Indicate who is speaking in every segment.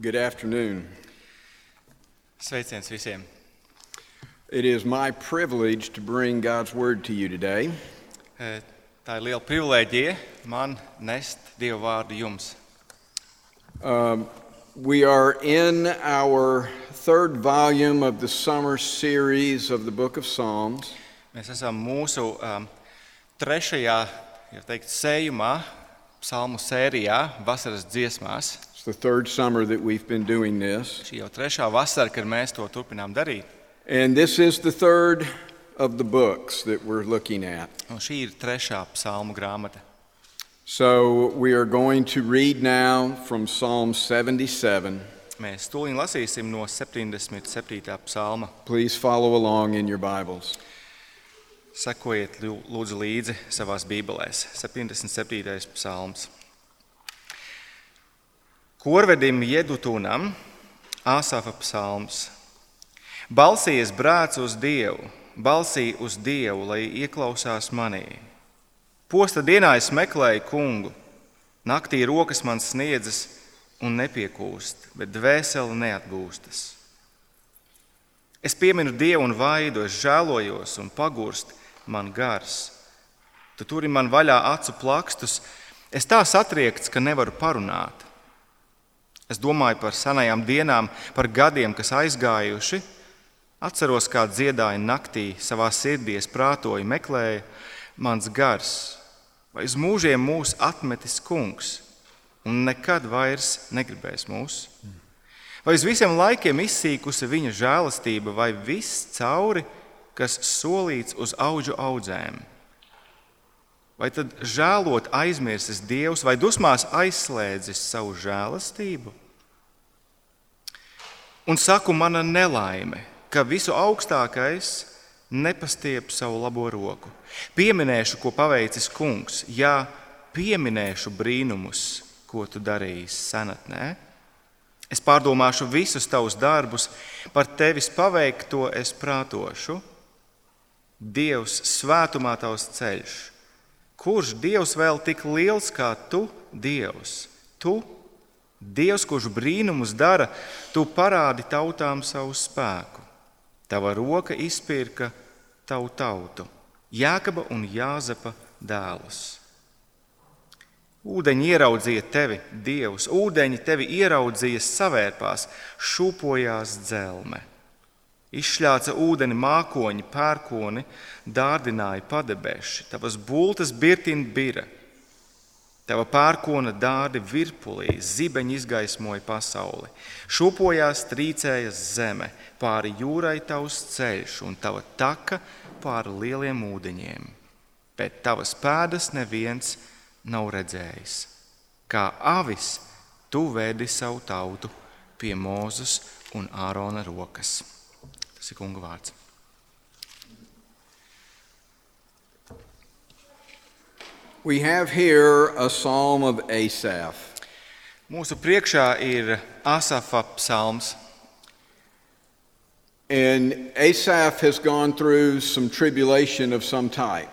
Speaker 1: Good afternoon.
Speaker 2: Sveiciens visiem!
Speaker 1: It is my privilege to bring God's word to you today.
Speaker 2: Eh, Tā ir liela privilēģija man nest Dieva vārdu jums.
Speaker 1: Um, We are in our third volume of the summer series of the book of Psalms,
Speaker 2: Mēs esam mūsu um, trešajā, jau teikt, sējumā, psalmu sērijā, vasaras dziesmās.
Speaker 1: it's the third summer that we've been doing this.
Speaker 2: Šī jau trešā vasara, kad mēs to turpinām darīt.
Speaker 1: And this is the third of the books that we're looking at.
Speaker 2: Un šī ir trešā psalmu grāmata.
Speaker 1: So we are going to read now from Psalm 77.
Speaker 2: Mēs tūlīt lasīsim no 77. psalma.
Speaker 1: Please follow along in your Bibles.
Speaker 2: Sekojiet, lū- lūdzu, līdzi savā Bībelē, 77. psalms. Korvedim Jedutūnam, Āsāfa psalms. Balsīs brāts uz Dievu, balsī uz Dievu, lai ieklausās manī. Posta dienā es meklēju kungu, naktī rokas man sniedzas un nepiekūst, bet dvēsele neatgūstas. Es pieminu Dievu un vaidu, es žēlojos un pagurst man gars. Tu turi man vaļā acu plakstus, es tā satriekts, ka nevaru parunāt. Es domāju par senajām dienām, par gadiem, kas aizgājuši. Atceros, kā dziedāju naktī, savā sirdī es prātoju, meklēju, mans gars, vai uz mūžiem mūs atmetis kungs, un nekad vairs negribēs mūs. Vai uz visiem laikiem izsīkusi viņa žēlastība, vai viss cauri, kas solīts uz augu audzēm? Vai tad žēlot aizmirsis Dievs, vai dusmās aizslēdzis savu žēlastību? Un saku, mana nelaime, ka visu augstākais nepastiep savu labo roku. Pieminēšu, ko paveicis kungs, jā, pieminēšu brīnumus, ko tu darīji senatnē. Es pārdomāšu visus tavus darbus, par tevis paveikto es prātošu. Dievs, svētumā tavs ceļš. Kurš dievs vēl tik liels kā tu, Dievs? Tu, Dievs, kurš brīnumus dara, tu parādi tautām savu spēku. Tava roka izpirka tavu tautu, Jākaba un Jāzepa dēlus. Ūdeņi ieraudzīja tevi, Dievs, ūdeņi tevi ieraudzīja, savērpās, šūpojās dzelme. Izšļāca ūdeni mākoņi, pērkoni, dārdināja padebeši, tavas būtnes birtina bira. Tava pērkona dārdi virpulī, zibeņi izgaismoja pasauli. Šūpojās trīcējas zeme, pāri jūrai tavs ceļš un tava taka pāri lieliem ūdeņiem bet tavas pēdas neviens nav redzējis. Kā avis, tu vēdi savu tautu pie Mozus un Ārona rokas. Tas ir kunga vārds.
Speaker 1: We have here a psalm of Asaph.
Speaker 2: Mūsu priekšā ir Asafa psalms.
Speaker 1: And Asaph has gone through some tribulation of some type.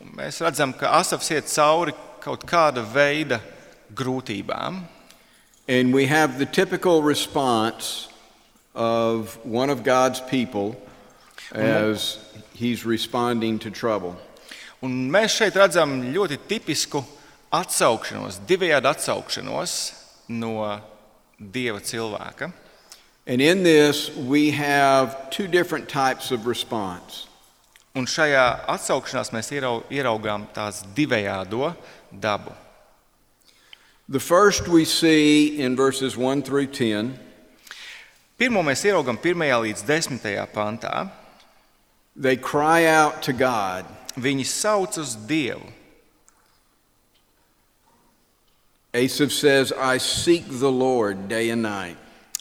Speaker 2: Un Mēs redzam, ka Asafs iet cauri kaut kāda veida grūtībām.
Speaker 1: And we have the typical response of one of God's people as he's responding to trouble.
Speaker 2: Un mēs šeit redzam ļoti tipisku atsaukšanos, divējādu atsaukšanos no dieva cilvēka.
Speaker 1: And in this, we have two different types of response.
Speaker 2: Un šajā atsaukšanās mēs ierau, ieraugām tās divējādo dabu.
Speaker 1: The first we see in verses 1 through 10
Speaker 2: Pirmo mēs ieraugām 1. līdz 10. pantā.
Speaker 1: they cry out to God.
Speaker 2: Viņi sauc uz Dievu.
Speaker 1: Asaph says, I seek the Lord day and night.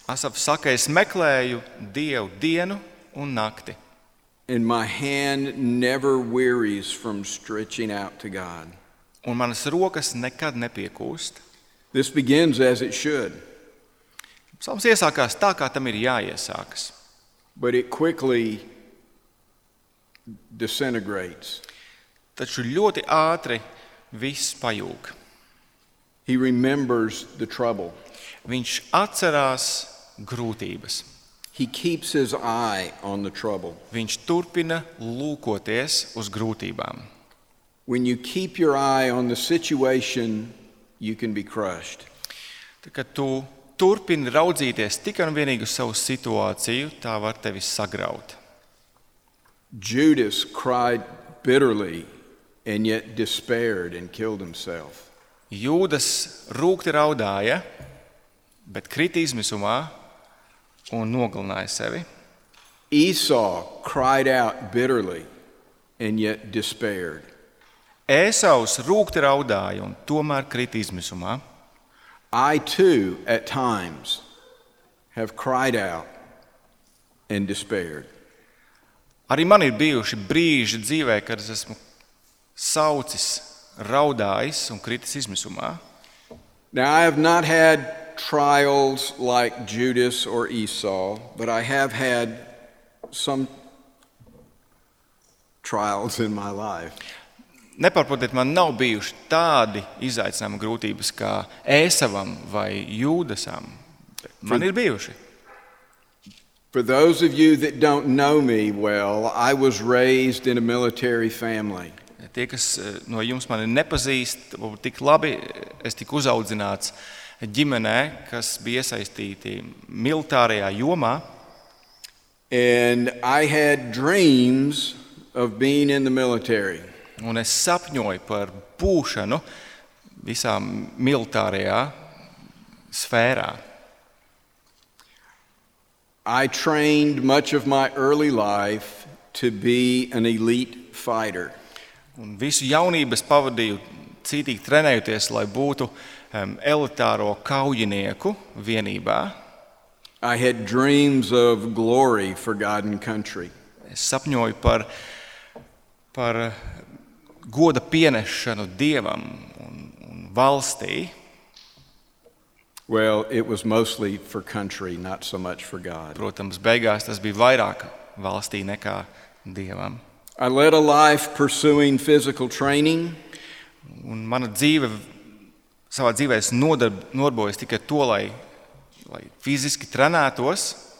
Speaker 2: Asafs saka, es meklēju Dievu dienu un nakti.
Speaker 1: And my hand never wearies from stretching out to God.
Speaker 2: Un manas rokas nekad nepiekūst.
Speaker 1: This begins as it should,
Speaker 2: Psalms iesākās tā, kā tam ir jāiesākas.
Speaker 1: but it quickly disintegrates.
Speaker 2: Taču ļoti ātri viss pajūg.
Speaker 1: He remembers the trouble.
Speaker 2: Viņš atcerās grūtības.
Speaker 1: He keeps his eye on the trouble.
Speaker 2: Viņš turpina lūkoties uz grūtībām.
Speaker 1: When you keep your eye on the situation, you can be crushed.
Speaker 2: Tad, Kad tu turpini raudzīties tikai un vienīgi uz savu situāciju, tā var tevi sagraut.
Speaker 1: Judas cried bitterly and yet despaired and killed himself.
Speaker 2: Jūdas rūkti raudāja, bet kritīs misumā un nogalināja sevi.
Speaker 1: Esau cried out bitterly and yet despaired.
Speaker 2: Ēsaus rūkti raudāja un tomēr kritīs misumā.
Speaker 1: I too, at times, have cried out and despaired.
Speaker 2: Arī man ir bijuši brīži dzīvē, kad es esmu saucis, raudājis un kritis izmisumā.
Speaker 1: Now, I have not had trials like Judas or Esau, but I have had some trials in my life.
Speaker 2: Nepārprotiet, man nav bijuši tādi izaicinājumi, grūtības kā Ēsavam vai Jūdasam. bet Man ir bijuši.
Speaker 1: For those of you that don't know me well, I was raised in a military family.
Speaker 2: Tie, kas eh, no jums mani nepazīst, varbūt tik labi, eh, es tiku uzaudzināts ģimenē, kas bija iesaistīti militārajā jomā.
Speaker 1: And I had dreams of being in the military.
Speaker 2: Un es sapņoju par būšanu visā militārajā sfērā.
Speaker 1: I trained much of my early life to be an elite fighter.
Speaker 2: Un visu jaunību es pavadīju cītīgi trenējoties, lai būtu em, elitāro kaujinieku vienībā.
Speaker 1: I had dreams of glory for God and country.
Speaker 2: Es sapņoju par, par eh, goda pienešanu dievam un, un valstī.
Speaker 1: Well, it was mostly for country, not so much for God.
Speaker 2: Protams, beigās tas bija vairāk valstī nekā dievam.
Speaker 1: I led a life pursuing physical training.
Speaker 2: Un mana dzīve, savā dzīvē, es nodarb- nodarbojos tikai to, lai, lai fiziski trenētos.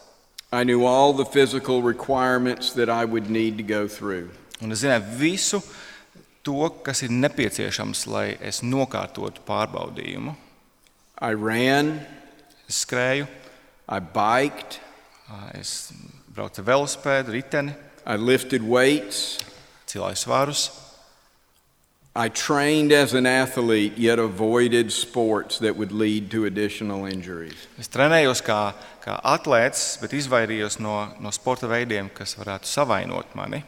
Speaker 1: I knew all the physical requirements that I would need to go through.
Speaker 2: Un es zināju visu to, kas ir nepieciešams, lai es nokārtotu pārbaudījumu.
Speaker 1: I ran,
Speaker 2: Es skrēju,
Speaker 1: I biked,
Speaker 2: es braucu ar velosipēdu, riteni,
Speaker 1: I lifted weights,
Speaker 2: cilāju svārus.
Speaker 1: I trained as an athlete, yet avoided sports that would lead to additional injuries.
Speaker 2: Es trenējos kā, kā atlētājs, bet izvairījos no, no sporta veidiem, kas varētu savainot mani.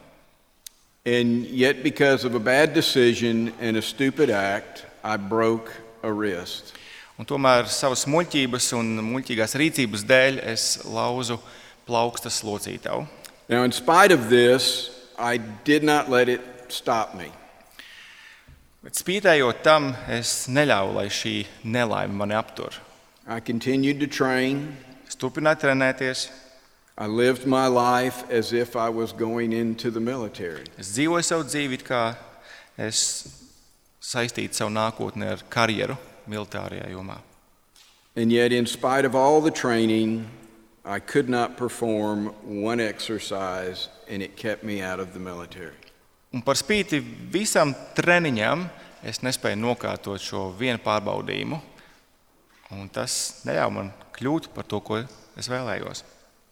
Speaker 1: And yet, because of a bad decision and a stupid act, I broke a wrist.
Speaker 2: Un tomēr savas muļķības un muļķīgās rīcības dēļ es lauzu plaukstas locītavu.
Speaker 1: Now, in spite of this, I did not let it stop me.
Speaker 2: Bet spītējot tam, es neļāvu, lai šī nelaime mani aptur.
Speaker 1: I continued to train.
Speaker 2: Es turpināju trenēties,
Speaker 1: I lived my life as if I was going into the military.
Speaker 2: es dzīvoju savu dzīvi, it kā es saistītu savu nākotni ar karjeru militārajā jomā.
Speaker 1: And yet, in spite of all the training, I could not perform one exercise, and it kept me out of the military.
Speaker 2: Un par spīti visam treniņam, es nespēju nokārtot šo vienu pārbaudījumu. Un tas neļāva man kļūt par to, ko es vēlējos.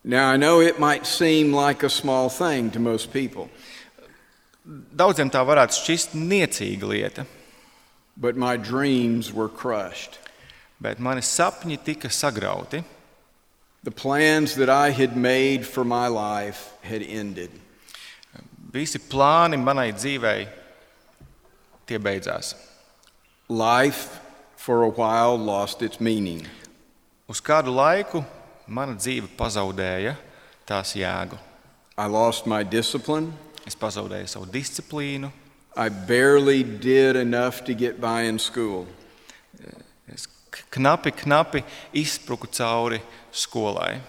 Speaker 1: Now, I know it might seem like a small thing to most people,
Speaker 2: Daudziem tā varētu šķist niecīga lieta,
Speaker 1: but my dreams were crushed.
Speaker 2: bet mani sapņi tika sagrauti.
Speaker 1: The plans that I had made for my life had ended.
Speaker 2: Visi plāni manai dzīvei tie beidzās.
Speaker 1: Life, for a while, lost its meaning.
Speaker 2: Uz kādu laiku mana dzīve pazaudēja tās jēgu.
Speaker 1: I lost my discipline.
Speaker 2: Es pazaudēju savu disciplīnu,
Speaker 1: I barely did enough to get by in school.
Speaker 2: es k- knapi, knapi izspruku cauri skolai.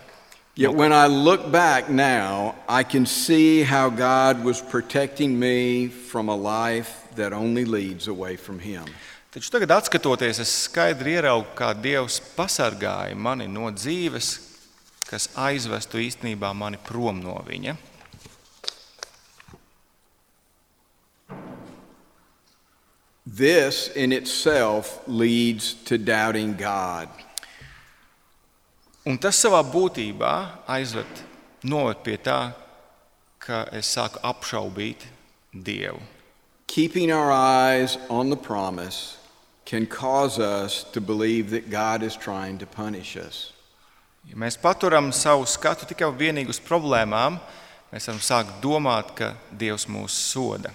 Speaker 1: Yet when I look back now, I can see how God was protecting me from a life that only leads away from Him.
Speaker 2: Taču tagad, skatoties, es skaidri ieraugu, kā Dievs pasargāja mani no dzīves, kas aizvestu īstenībā mani prom no viņa.
Speaker 1: This in itself leads to doubting God.
Speaker 2: Un tas savā būtībā aizved noved pie tā, ka es sāku apšaubīt Dievu.
Speaker 1: Keeping our eyes on the promise can cause us to believe that God is trying to punish us.
Speaker 2: Ja mēs paturam savu skatu tikai un vienīgi uz problēmām, mēs varam sākt domāt, ka Dievs mūs soda.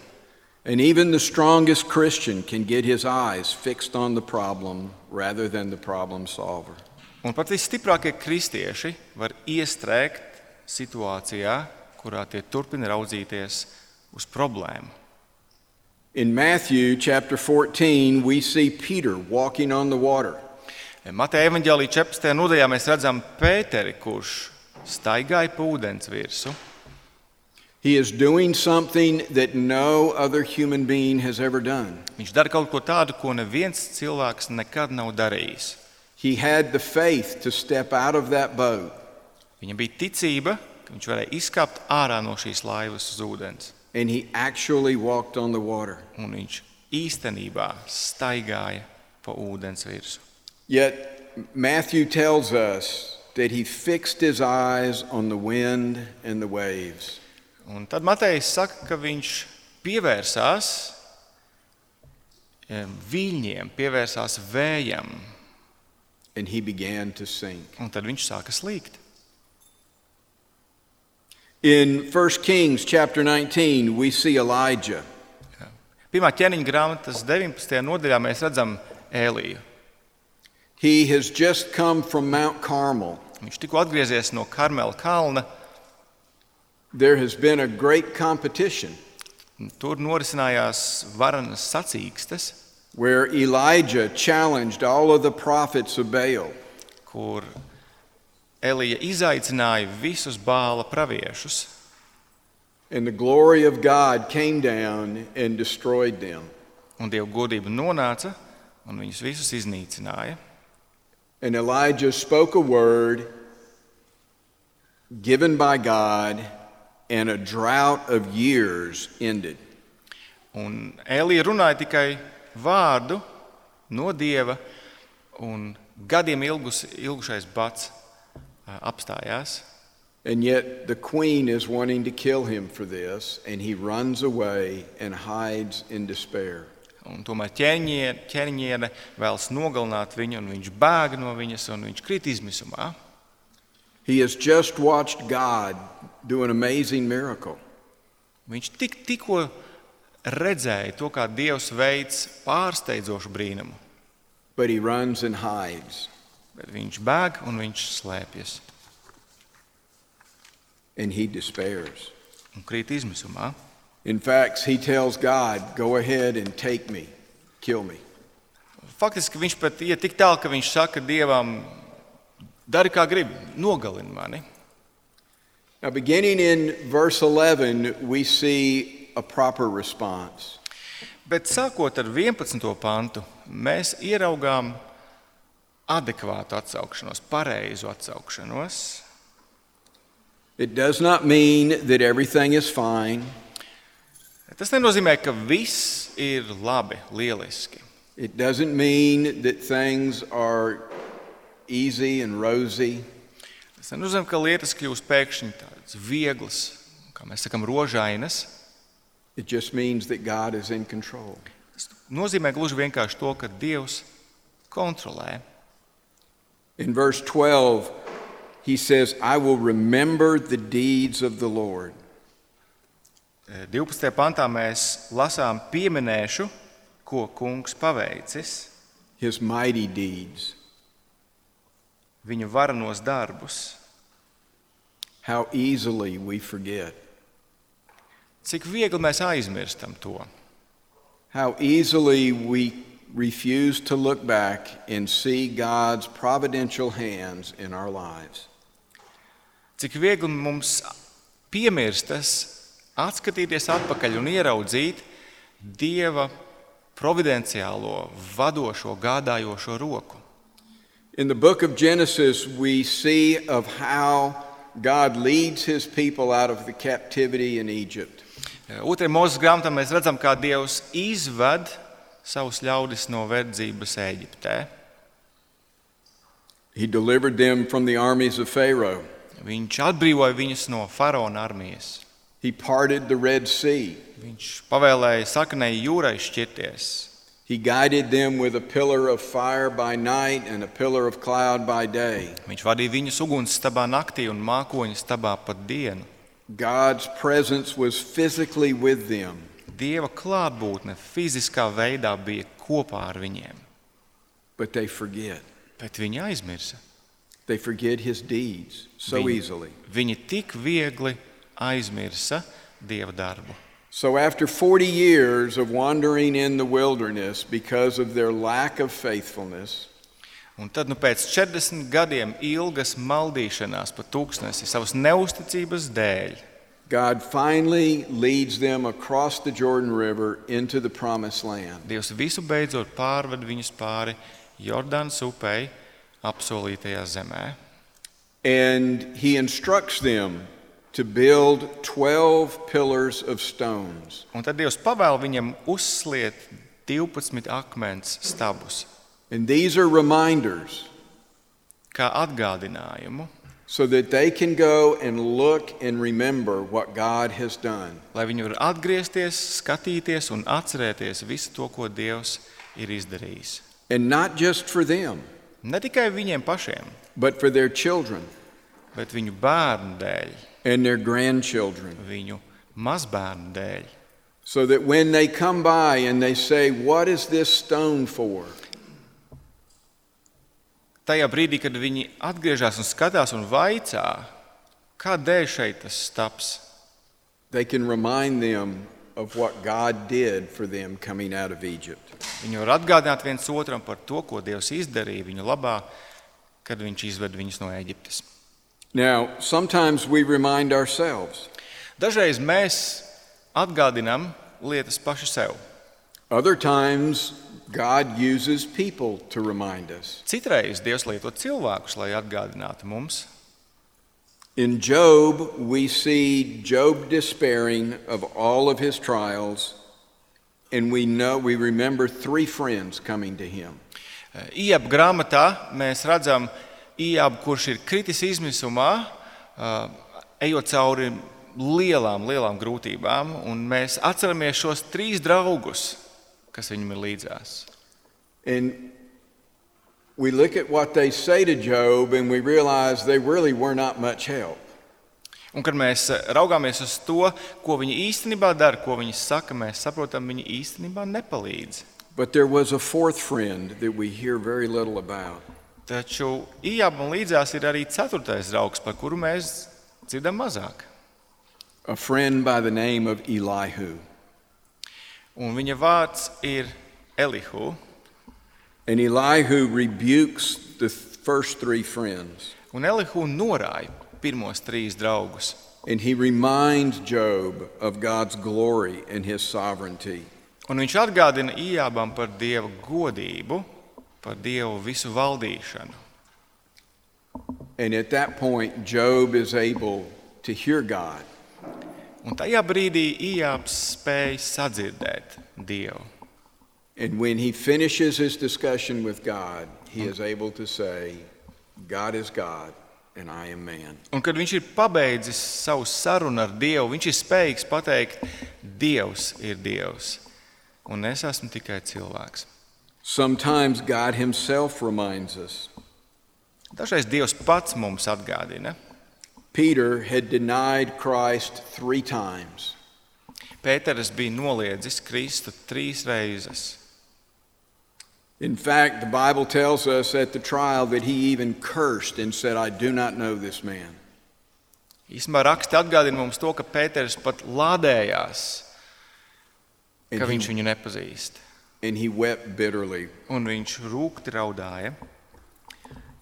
Speaker 1: And even the strongest Christian can get his eyes fixed on the problem rather than the problem solver.
Speaker 2: Un pat visstiprākie kristieši var iestrēgt situācijā, kurā tie turpina raudzīties uz problēmu.
Speaker 1: In Matthew chapter 14, we see Peter walking on the water.
Speaker 2: Mateja evanģēlīja 14. nodaļā mēs redzam Pēteri, kurš staigāja pa ūdens virsmu.
Speaker 1: He is doing something that no other human being has ever done.
Speaker 2: Viņš dara kaut ko tādu, ko neviens cilvēks nekad nav darījis.
Speaker 1: He had the faith to step out of that boat
Speaker 2: Viņam bija ticība, ka viņš varēja izkāpt ārā no šīs laivas uz ūdens.
Speaker 1: and he actually walked on the water.
Speaker 2: Un viņš īstenībā staigāja pa ūdens virsmu.
Speaker 1: Yet Matthew tells us that he fixed his eyes on the wind and the waves.
Speaker 2: Un tad Matejs saka, ka viņš pievērsās eh, viļņiem, pievērsās vējam,
Speaker 1: and he began to sink.
Speaker 2: un tad viņš sāka slīgt.
Speaker 1: In 1 Kings chapter 19, we see Elijah.
Speaker 2: Pirmā ķēniņa grāmatas 19. nodaļā mēs redzamĒliju.
Speaker 1: He has just come from Mount Carmel.
Speaker 2: Viņš tikko atgriezies no Karmela kalna.
Speaker 1: There has been a great competition
Speaker 2: un Tur norisinājās varenas sacīkstes,
Speaker 1: where Elijah challenged all of the prophets of Baal.
Speaker 2: kur Elija izaicināja visus bāla praviešus,
Speaker 1: And the glory of God came down and destroyed them.
Speaker 2: un Dieva godība nonāca un viņus visus iznīcināja.
Speaker 1: And Elijah spoke a word given by God, and a drought of years ended.
Speaker 2: Un Elija runāja tikai vārdu no dieva, un gadiem ilgus, ilgušais bats ā, apstājās.
Speaker 1: And yet the queen is wanting to kill him for this, and he runs away and hides in despair.
Speaker 2: Un tomēr ķēniņie- ķēniņiene vēlas nogalināt viņu, un viņš bēg no viņas, un viņš krīt izmisumā.
Speaker 1: He has just watched God do an amazing miracle.
Speaker 2: Viņš tik, tikko redzēja to, kā Dievs veids pārsteidzošu brīnumu.
Speaker 1: But he runs and hides.
Speaker 2: Bet viņš bēg un viņš slēpjas
Speaker 1: And he despairs.
Speaker 2: un krīt izmisumā.
Speaker 1: In fact, he tells God, Go ahead and take me, kill me.
Speaker 2: Faktiski viņš pat iet tik tālu, ka viņš saka Dievam, dari kā gribi, nogalini mani.
Speaker 1: Now, beginning in verse 11, we see a proper response.
Speaker 2: Bet sākot ar 11. pantu, mēs ieraugām adekvātu atsaukšanos, pareizu atsaukšanos.
Speaker 1: It does not mean that everything is fine,
Speaker 2: Tas nenozīmē, ka viss ir labi, lieliski.
Speaker 1: It doesn't mean that things are easy and rosy.
Speaker 2: Tas nenozīmē, ka lietas kļūst pēkšņi tādas vieglas, kā mēs sakām, rožainas.
Speaker 1: It just means that God is in control.
Speaker 2: Tas nozīmē gluži vienkārši to, ka Dievs kontrolē.
Speaker 1: In verse 12, he says, I will remember the deeds of the Lord.
Speaker 2: 12. pantā mēs lasām, pieminēšu, ko kungs paveicis,
Speaker 1: His mighty deeds,
Speaker 2: viņa varenos darbus,
Speaker 1: how easily we forget,
Speaker 2: cik viegli mēs aizmirstam to.
Speaker 1: how easily we refuse to look back and see God's providential hands in our lives.
Speaker 2: Cik viegli mums piemirstas atskatīties atpakaļ un ieraudzīt Dieva providenciālo, vadošo, gādājošo roku.
Speaker 1: In the book of Genesis, we see of how God leads his people out of the captivity in Egypt.
Speaker 2: Otrajā mūža grāmatā mēs redzam, kā Dievs izved savus ļaudis no verdzības Eģiptē.
Speaker 1: He delivered them from the armies of Pharaoh.
Speaker 2: Viņš atbrīvoja viņus no faraona armijas.
Speaker 1: He parted the Red Sea.
Speaker 2: Viņš pavēlēja saknei jūrai šķirties.
Speaker 1: He guided them with a pillar of fire by night and a pillar of cloud by day.
Speaker 2: Viņš vadīja viņus ugunstabā naktī un mākoņu stabā pa dienu.
Speaker 1: God's presence was physically with them.
Speaker 2: Dieva klātbūtne fiziskā veidā bija kopā ar viņiem,
Speaker 1: But they forget.
Speaker 2: bet viņi aizmirsa.
Speaker 1: They forget his deeds so
Speaker 2: Being-
Speaker 1: easily.
Speaker 2: Viņi tik viegli aizmirsa dieva darbu.
Speaker 1: So, after 40 years of wandering in the wilderness because of their lack of faithfulness,
Speaker 2: Un tad, nu, pēc 40 gadiem ilgas maldīšanās pa tūkstnesi, savas neusticības dēļ,
Speaker 1: God finally leads them across the Jordan River into the promised land.
Speaker 2: Dievs visu beidzot pārved viņus pāri Jordānas upei, apsolītajā zemē.
Speaker 1: And he instructs them to build 12 pillars of stones.
Speaker 2: Un tad Dievs pavēl viņam uzsliet 12 akmens stabus,
Speaker 1: And these are reminders
Speaker 2: kā atgādinājumu,
Speaker 1: so that they can go and look and remember what God has done.
Speaker 2: lai viņi varētu atgriezties, skatīties un atcerēties visu to, ko Dievs ir izdarījis.
Speaker 1: And not just for them,
Speaker 2: Ne tikai viņiem pašiem,
Speaker 1: but for their children
Speaker 2: bet viņu bērnu dēļ,
Speaker 1: and their grandchildren.
Speaker 2: viņu mazbērnu dēļ.
Speaker 1: So that when they come by and they say, What is this stone for?
Speaker 2: Tajā brīdī, kad viņi atgriežas un skatās un vaicā, kādēļ šeit tas taps,
Speaker 1: They can remind them of what God did for them coming out of Egypt.
Speaker 2: viņi var atgādināt viens otram par to, ko Dievs izdarīja viņu labā, kad viņš izved viņus no Eģiptes.
Speaker 1: Now, sometimes we remind ourselves,
Speaker 2: Dažreiz mēs atgādinām lietas paši sev.
Speaker 1: other times, God uses people to remind us.
Speaker 2: Citreiz Dievs lieto cilvēkus, lai atgādinātu mums.
Speaker 1: In Job, we see Job despairing of all of his trials, and we know we remember three friends coming to him.
Speaker 2: Iep grāmatā mēs redzam, Iep, kurš ir kritis izmisumā, eh, ejot cauri lielām, lielām grūtībām, un mēs atceramies šos trīs draugus, kas viņam ir līdzās.
Speaker 1: And we look at what they say to Job and we realize they really were not much help.
Speaker 2: Un, kad mēs eh, raugāmies uz to, ko viņi īstenībā dara, ko viņi saka, mēs saprotam, viņi īstenībā nepalīdz.
Speaker 1: But there was a fourth friend that we hear very little about.
Speaker 2: Taču Ijābam līdzās ir arī ceturtais draugs, par kuru mēs dzirdam mazāk.
Speaker 1: A friend by the name of Elihu.
Speaker 2: Un viņa vārds ir Elihu.
Speaker 1: And Elihu rebukes the first three friends.
Speaker 2: Un Elihu norāja pirmos trīs draugus.
Speaker 1: And he reminds Job of God's glory and his sovereignty.
Speaker 2: Un viņš atgādina Ijābam par Dieva godību, par Dievu visu valdīšanu.
Speaker 1: And at that point, Job is able to hear God.
Speaker 2: Un tajā brīdī Ijāps spēja sadzirdēt Dievu.
Speaker 1: And when he finishes his discussion with God, he is able to say, God is God and I am man.
Speaker 2: Un kad viņš ir pabeidzis savu sarunu ar Dievu, viņš ir spējīgs pateikt, Dievs ir Dievs, un es esmu tikai cilvēks.
Speaker 1: Sometimes God himself reminds us.
Speaker 2: Dažreiz Dievs pats mums atgādina.
Speaker 1: Peter had denied Christ three times.
Speaker 2: Pēters bija noliedzis Kristu trīs reizes.
Speaker 1: In fact, the Bible tells us at the trial that he even cursed and said, I do not know this man.
Speaker 2: Īsumā raksts atgādina mums to, ka Pēters pat lādējās, ka
Speaker 1: And
Speaker 2: viņš
Speaker 1: he,
Speaker 2: viņu nepazīst.
Speaker 1: and he wept bitterly.
Speaker 2: Un viņš rūkti raudāja.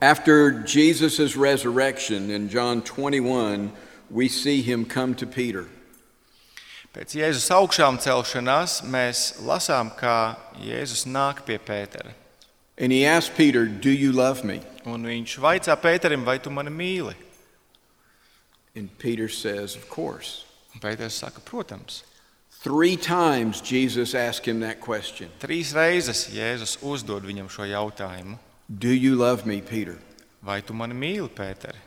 Speaker 1: After Jesus' resurrection in John 21, we see him come to Peter.
Speaker 2: Pēc Jēzus augšām celšanās mēs lasām, kā Jēzus nāk pie Pētera.
Speaker 1: And he asked Peter, Do you love me?
Speaker 2: Un viņš vaicā Pēterim, vai tu mani mīli?
Speaker 1: And Peter says, Of course.
Speaker 2: Un Pēters saka, protams.
Speaker 1: Three times Jesus asked him that question
Speaker 2: Trīs reizes Jēzus uzdod viņam šo jautājumu,
Speaker 1: Do you love me, Peter?
Speaker 2: vai tu mani mīli, Pēteri?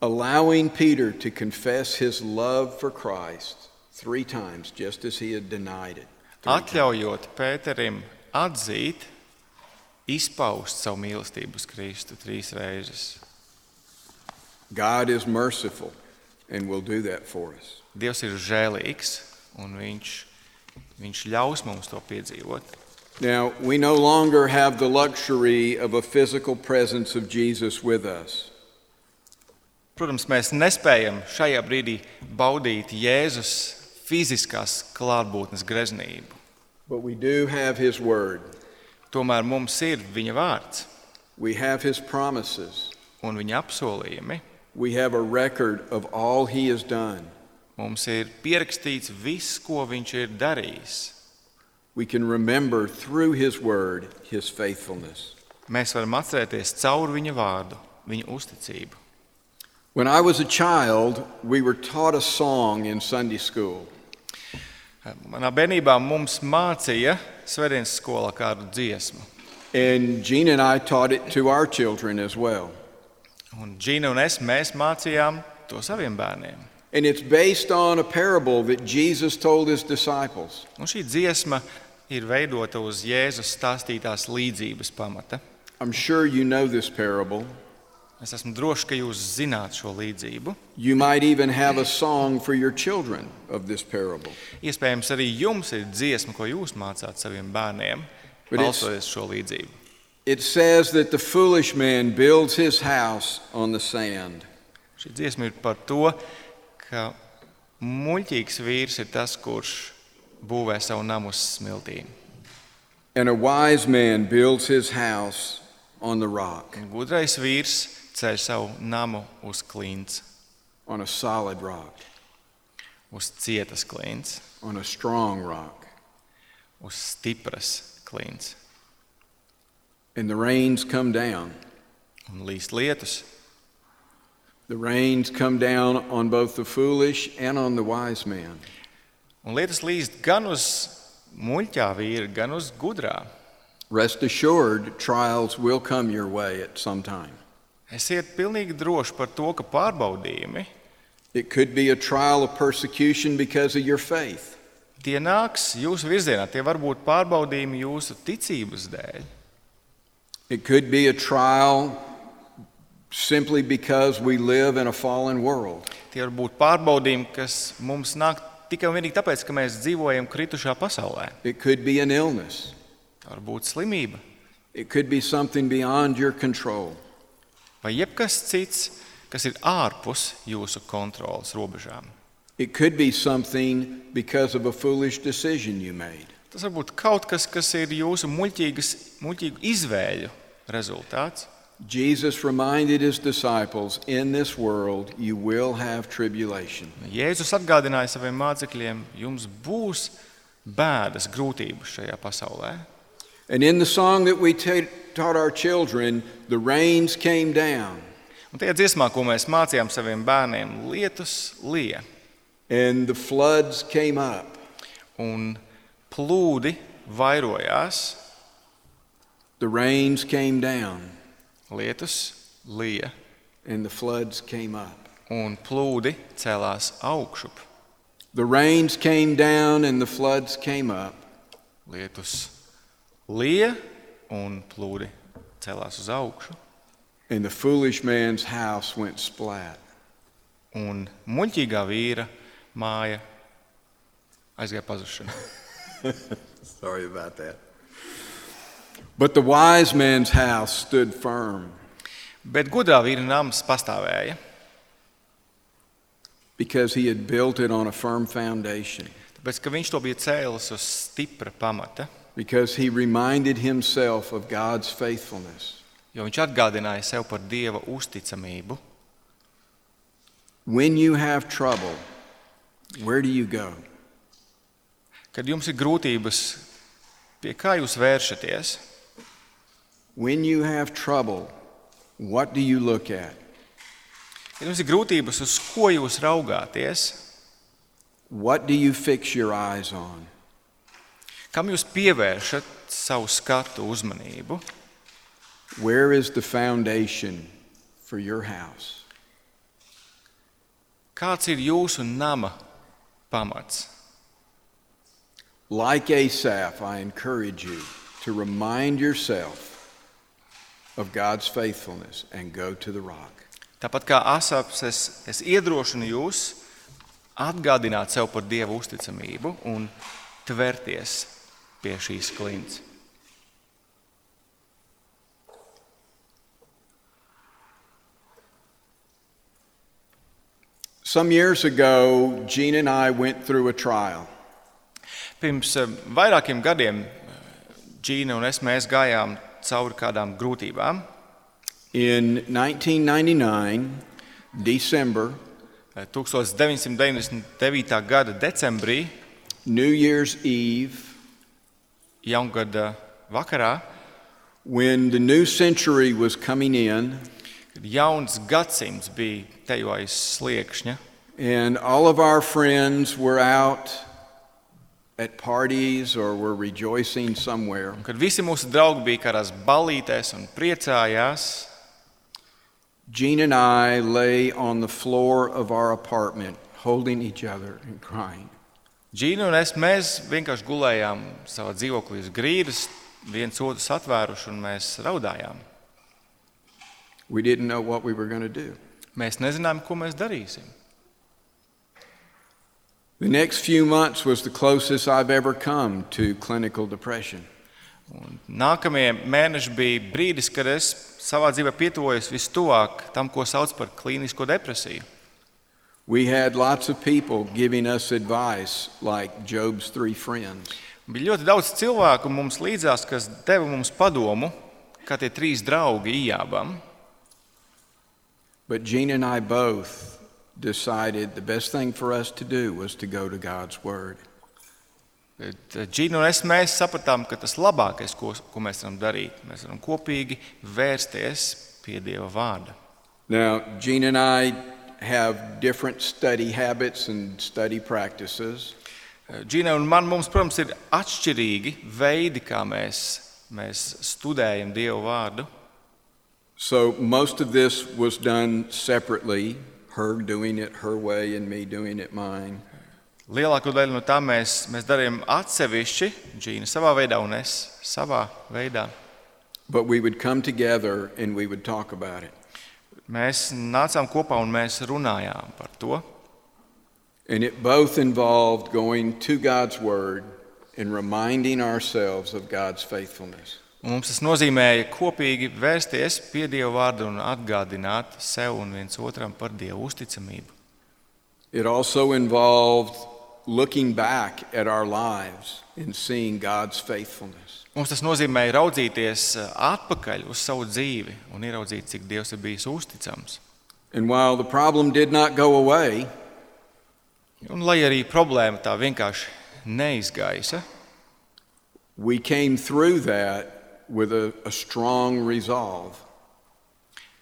Speaker 1: Allowing Peter to confess his love for Christ three times, just as he had denied it. three times.
Speaker 2: Atļaujot Pēterim atzīt, izpaust savu mīlestību uz Kristu trīs reizes.
Speaker 1: God is merciful and will do that for us.
Speaker 2: Dievs ir žēlīgs un viņš, viņš ļaus mums to piedzīvot.
Speaker 1: Now, we no longer have the luxury of a physical presence of Jesus with us.
Speaker 2: Protams, mēs nespējam šajā brīdī baudīt Jēzus fiziskās klātbūtnes greznību.
Speaker 1: But we do have his word,
Speaker 2: Tomēr mums ir viņa vārds
Speaker 1: we have his promises,
Speaker 2: un viņa apsolījumi.
Speaker 1: we have a record of all he has done.
Speaker 2: Mums ir pierakstīts viss, ko viņš ir darījis.
Speaker 1: We can remember through his word his faithfulness.
Speaker 2: Mēs varam atcerēties caur viņa vārdu, viņa uzticību.
Speaker 1: When I was a child, we were taught a song in Sunday school.
Speaker 2: Manā bērnībā mums mācīja Svedienas skolā kādu dziesmu.
Speaker 1: And Gene and I taught it to our children as well.
Speaker 2: Un Džina un es mēs mācījām to saviem bērniem.
Speaker 1: And it's based on a parable that Jesus told his disciples.
Speaker 2: Un šī dziesma ir veidota uz Jēzus stāstītās līdzības pamata.
Speaker 1: I'm sure you know this parable.
Speaker 2: Es esmu drošs, ka jūs zināt šo līdzību.
Speaker 1: You might even have a song for your children of this parable.
Speaker 2: Iespējams, arī jums ir dziesma, ko jūs mācāt saviem bērniem,
Speaker 1: Bet es-
Speaker 2: balsoties šo līdzību.
Speaker 1: It says that the foolish man builds his house on the sand,
Speaker 2: Šī dziesma ir par to, ka muļķīgs vīrs ir tas, kurš būvē savu namu uz smiltīm.
Speaker 1: and a wise man builds his house on the rock,
Speaker 2: Un Gudrais vīrs ceļ savu namu uz klints,
Speaker 1: on a solid rock,
Speaker 2: uz cietas klints,
Speaker 1: on a strong rock.
Speaker 2: uz stipras klints.
Speaker 1: And the rains come down.
Speaker 2: Un līst lietus,
Speaker 1: The rains come down on both the foolish and on the wise man.
Speaker 2: un lietus līst gan uz muļķā vīra, gan uz gudrā.
Speaker 1: Rest assured, trials will come your way at some time.
Speaker 2: Esiet pilnīgi droši par to, ka pārbaudījumi
Speaker 1: It could be a trial of persecution because of your faith.
Speaker 2: tie nāks jūsu virzienā. Tie var būt pārbaudījumi jūsu ticības dēļ.
Speaker 1: It could be a trial simply because we live in a fallen world.
Speaker 2: Tie var būt pārbaudījumi, kas mums nāk tikai un vienīgi tāpēc, ka mēs dzīvojam kritušā pasaulē.
Speaker 1: It could be an illness.
Speaker 2: Tā var būt slimība
Speaker 1: It could be something beyond your control.
Speaker 2: vai jebkas cits, kas ir ārpus jūsu kontrolas robežām.
Speaker 1: It could be something because of a foolish decision you made.
Speaker 2: Tas var būt kaut kas, kas ir jūsu muļķīgas, muļķīgu izvēļu rezultāts.
Speaker 1: Jesus reminded his disciples in this world you will have tribulation.
Speaker 2: Jēzus atgādināja saviem mācekļiem, jums būs bēdas, grūtības šajā pasaulē.
Speaker 1: And in the song that we ta taught our children, the rains came down.
Speaker 2: Un tajā dziesmā, ko mēs mācījām saviem bērniem, lietus lija
Speaker 1: And the floods came up.
Speaker 2: un plūdi vairojās,
Speaker 1: The rains came down
Speaker 2: lietus lija
Speaker 1: and the floods came up.
Speaker 2: un plūdi celās augšup.
Speaker 1: The rains came down and the floods came up.
Speaker 2: Lietus lija un plūdi celās uz augšu.
Speaker 1: And the foolish man's house went splat.
Speaker 2: Un muļķīgā vīra māja aizgāja pazušanā.
Speaker 1: Sorry about that. But the wise man's house stood firm
Speaker 2: Bet gudrā vīra nams pastāvēja,
Speaker 1: because he had built it on a firm foundation,
Speaker 2: tāpēc ka viņš to bija cēlis uz stipra pamata,
Speaker 1: because he reminded himself of God's faithfulness.
Speaker 2: jo viņš atgādināja sev par dieva uzticamību.
Speaker 1: When you have trouble, Where do you go?
Speaker 2: Kad jums ir grūtības, pie kā jūs vēršaties?
Speaker 1: When you have trouble, what do you look at?
Speaker 2: Kad jums ir grūtības, uz ko jūs raugāties?
Speaker 1: What do you fix your eyes on?
Speaker 2: Kam jūs pievēršat savu skatu uzmanību?
Speaker 1: Where is the foundation for your house?
Speaker 2: Kāds ir jūsu nama pamats?
Speaker 1: Like Asaph, I encourage you to remind yourself of God's faithfulness and go to the rock.
Speaker 2: Tāpat kā Asaps, es, es iedrošinu jūs atgādināt sev par Dieva uzticamību un tvērties pie šīs klints.
Speaker 1: Some years ago, Gene and I went through a trial.
Speaker 2: Pirms eh, vairākiem gadiem eh, Džīna un es mēs gājām cauri kādām grūtībām.
Speaker 1: In 1999, December,
Speaker 2: Eh, 1999. gada decembrī,
Speaker 1: New Year's Eve,
Speaker 2: jaungada vakarā,
Speaker 1: when the new century was coming in
Speaker 2: kad jauns gadsimts bija tejojis sliekšņa,
Speaker 1: and all of our friends were out at parties or were rejoicing somewhere,
Speaker 2: un kad visi mūsu draugi bija kādās balītēs un priecājās,
Speaker 1: Gene and I lay on the floor of our apartment holding each other and crying.
Speaker 2: Džīna un es mēs vienkārši gulējām savā dzīvoklī uz grīdas, viens otru satvēruši un mēs raudājām.
Speaker 1: We didn't know what we were going to do.
Speaker 2: Mēs nezinājām, ko mēs darīsim.
Speaker 1: The next few months was the closest I've ever come to clinical depression.
Speaker 2: Un nākamie mēneši bija brīdis, kad es savā dzīvē pietuvojos vistuvāk tam, ko sauc par klīnisko depresiju.
Speaker 1: We had lots of people giving us advice, like Job's three friends.
Speaker 2: Bija ļoti daudz cilvēku mums līdzās, kas deva mums padomu, kā tie trīs draugi ījābam.
Speaker 1: But Gene and I both decided the best thing for us to do was to go to God's Word.
Speaker 2: Džina un eh, es mēs sapratām, ka tas labākais, ko, ko mēs varam darīt, mēs varam kopīgi vērsties pie Dieva vārda.
Speaker 1: Now, Gene and I have different study habits and study practices.
Speaker 2: Džina Eh, un man, mums, protams, ir atšķirīgi veidi, kā mēs, mēs studējam Dieva vārdu.
Speaker 1: So most of this was done separately, her doing it her way and me doing it mine.
Speaker 2: Lielāko daļu no tā mēs, mēs darījām atsevišķi, Džina savā veidā un es savā veidā.
Speaker 1: But we would come together and we would talk about it.
Speaker 2: Mēs nācām kopā un mēs runājām par to.
Speaker 1: And it both involved going to God's Word and reminding ourselves of God's faithfulness.
Speaker 2: Un mums tas nozīmēja kopīgi vērsties pie Dieva vārda un atgādināt sev un viens otram par Dieva uzticamību.
Speaker 1: It also involved looking back at our lives and seeing God's faithfulness.
Speaker 2: Mums tas nozīmēja raudzīties eh, atpakaļ uz savu dzīvi un ieraudzīt, cik Dievs ir bijis uzticams.
Speaker 1: And while the problem did not go away,
Speaker 2: Un, lai arī problēma tā vienkārši neizgaisa,
Speaker 1: we came through that with a, a strong resolve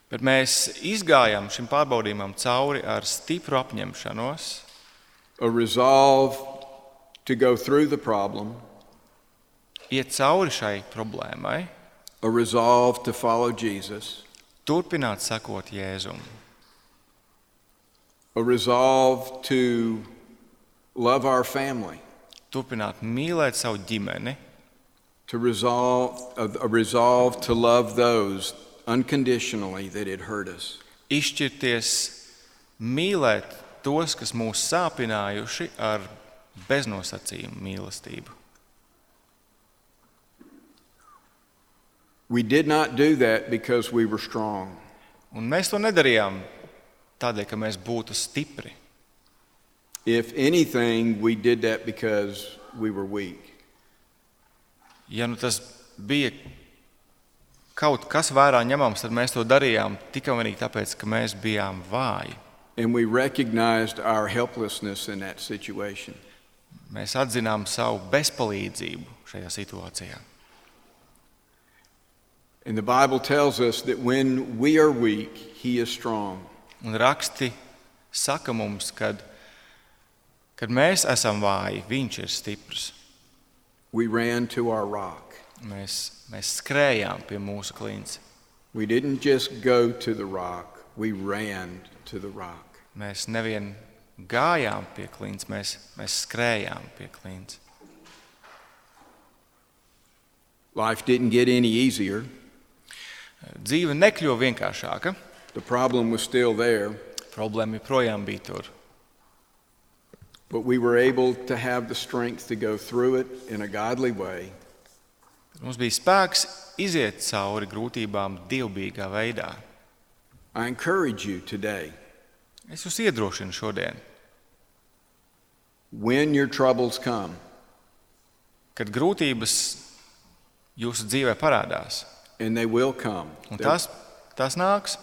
Speaker 2: Bet mēs izgājām šim pārbaudījumam cauri ar stipru apņemšanos,
Speaker 1: a resolve to go through the problem,
Speaker 2: iet cauri šai problēmai,
Speaker 1: a resolve to follow Jesus,
Speaker 2: turpināt sekot Jēzum,
Speaker 1: a resolve to love our family.
Speaker 2: turpināt mīlēt savu ģimeni,
Speaker 1: to resolve a a resolve to love those unconditionally that had hurt us
Speaker 2: izšķirties, mīlēt tos, kas mūs sāpinājuši ar beznosacījumu mīlestību.
Speaker 1: we did not do that because we were strong
Speaker 2: Un mēs to nedarījām tādēļ, ka mēs būtu stipri.
Speaker 1: if anything we did that because we were weak
Speaker 2: Ja nu tas bija kaut kas vērā ņemams, tad mēs to darījām tikai un vienīgi tāpēc, ka mēs bijām vāji.
Speaker 1: and we recognized our helplessness in that situation.
Speaker 2: Mēs atzinām savu bezpalīdzību šajā situācijā.
Speaker 1: And the Bible tells us that when we are weak, He is strong.
Speaker 2: Un raksti saka mums, kad, kad mēs esam vāji, viņš ir stiprs.
Speaker 1: We ran to our rock.
Speaker 2: Mēs, mēs skrējām pie mūsu klints.
Speaker 1: We didn't just go to the rock, we ran to the rock.
Speaker 2: Mēs nevien gājām pie klints, mēs, mēs skrējām pie klints.
Speaker 1: Life didn't get any easier.
Speaker 2: Dzīve nekļuva vienkāršāka.
Speaker 1: The problem was still there,
Speaker 2: Problēma joprojām bija tur.
Speaker 1: but we were able to have the strength to go through it in a godly way
Speaker 2: Mums bija spēks iziet cauri grūtībām dievbijīgā veidā.
Speaker 1: I encourage you today
Speaker 2: Es jūs iedrošinu šodien,
Speaker 1: when your troubles come
Speaker 2: kad grūtības jūsu dzīvē parādās.
Speaker 1: and they will come
Speaker 2: Un
Speaker 1: there,
Speaker 2: tas, tas nāks,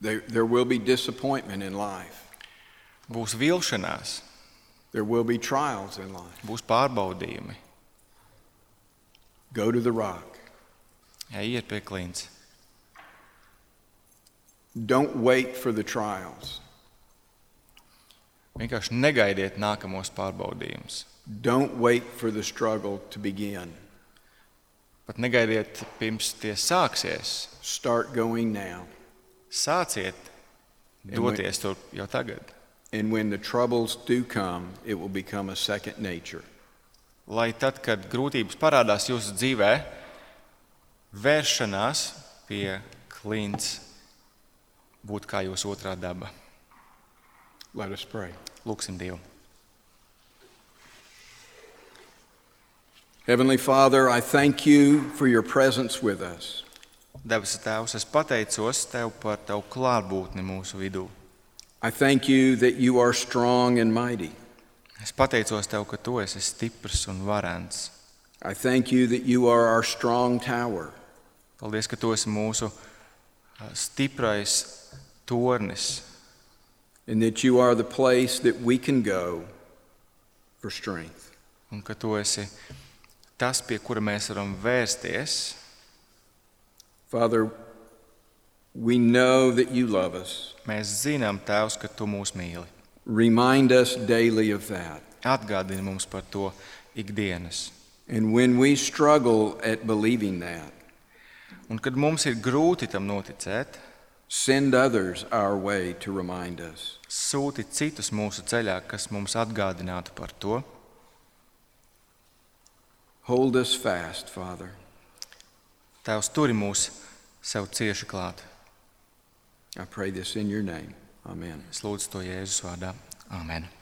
Speaker 1: there, there will be disappointment in life
Speaker 2: būs vilšanās,
Speaker 1: there will be trials in life
Speaker 2: būs pārbaudījumi.
Speaker 1: go to the rock
Speaker 2: Jāiet pie klints.
Speaker 1: don't wait for the trials
Speaker 2: Vienkārši negaidiet nākamos pārbaudījumus.
Speaker 1: don't wait for the struggle to begin
Speaker 2: Pat negaidiet, pirms tie sāksies.
Speaker 1: start going now
Speaker 2: Sāciet
Speaker 1: vai-
Speaker 2: doties tur jau tagad,
Speaker 1: and when the troubles do come it will become a second nature
Speaker 2: lai tad, kad grūtības parādās jūsu dzīvē, vēršanās pie klints būtu kā jūsu otrā daba.
Speaker 1: let us pray
Speaker 2: Lūksim Dievu.
Speaker 1: heavenly father i thank you for your presence with us
Speaker 2: Debes Tēvs, es pateicos Tev par Tavu klātbūtni mūsu vidū.
Speaker 1: I thank you that you are strong and mighty.
Speaker 2: Es pateicos Tev, ka Tu esi stiprs un varants.
Speaker 1: I thank you that you are our strong tower.
Speaker 2: Paldies, ka Tu esi mūsu ā, stiprais tornis
Speaker 1: and that you are the place that we can go for strength.
Speaker 2: un ka Tu esi tas, pie kura mēs varam vērsties.
Speaker 1: Father, we know that you love us.
Speaker 2: Mēs zinām, Tēvs, ka Tu mūs mīli.
Speaker 1: Remind us daily of that.
Speaker 2: Atgādini mums par to ikdienas.
Speaker 1: And when we struggle at believing that,
Speaker 2: Un kad mums ir grūti tam noticēt,
Speaker 1: send others our way to remind us.
Speaker 2: sūti citus mūsu ceļā, kas mums atgādinātu par to.
Speaker 1: Hold us fast, Father.
Speaker 2: Tēvs, turi mūs sev cieši klāt.
Speaker 1: I pray this in your name. Amen.
Speaker 2: Es lūdzu to Jēzus vārdā. Āmen!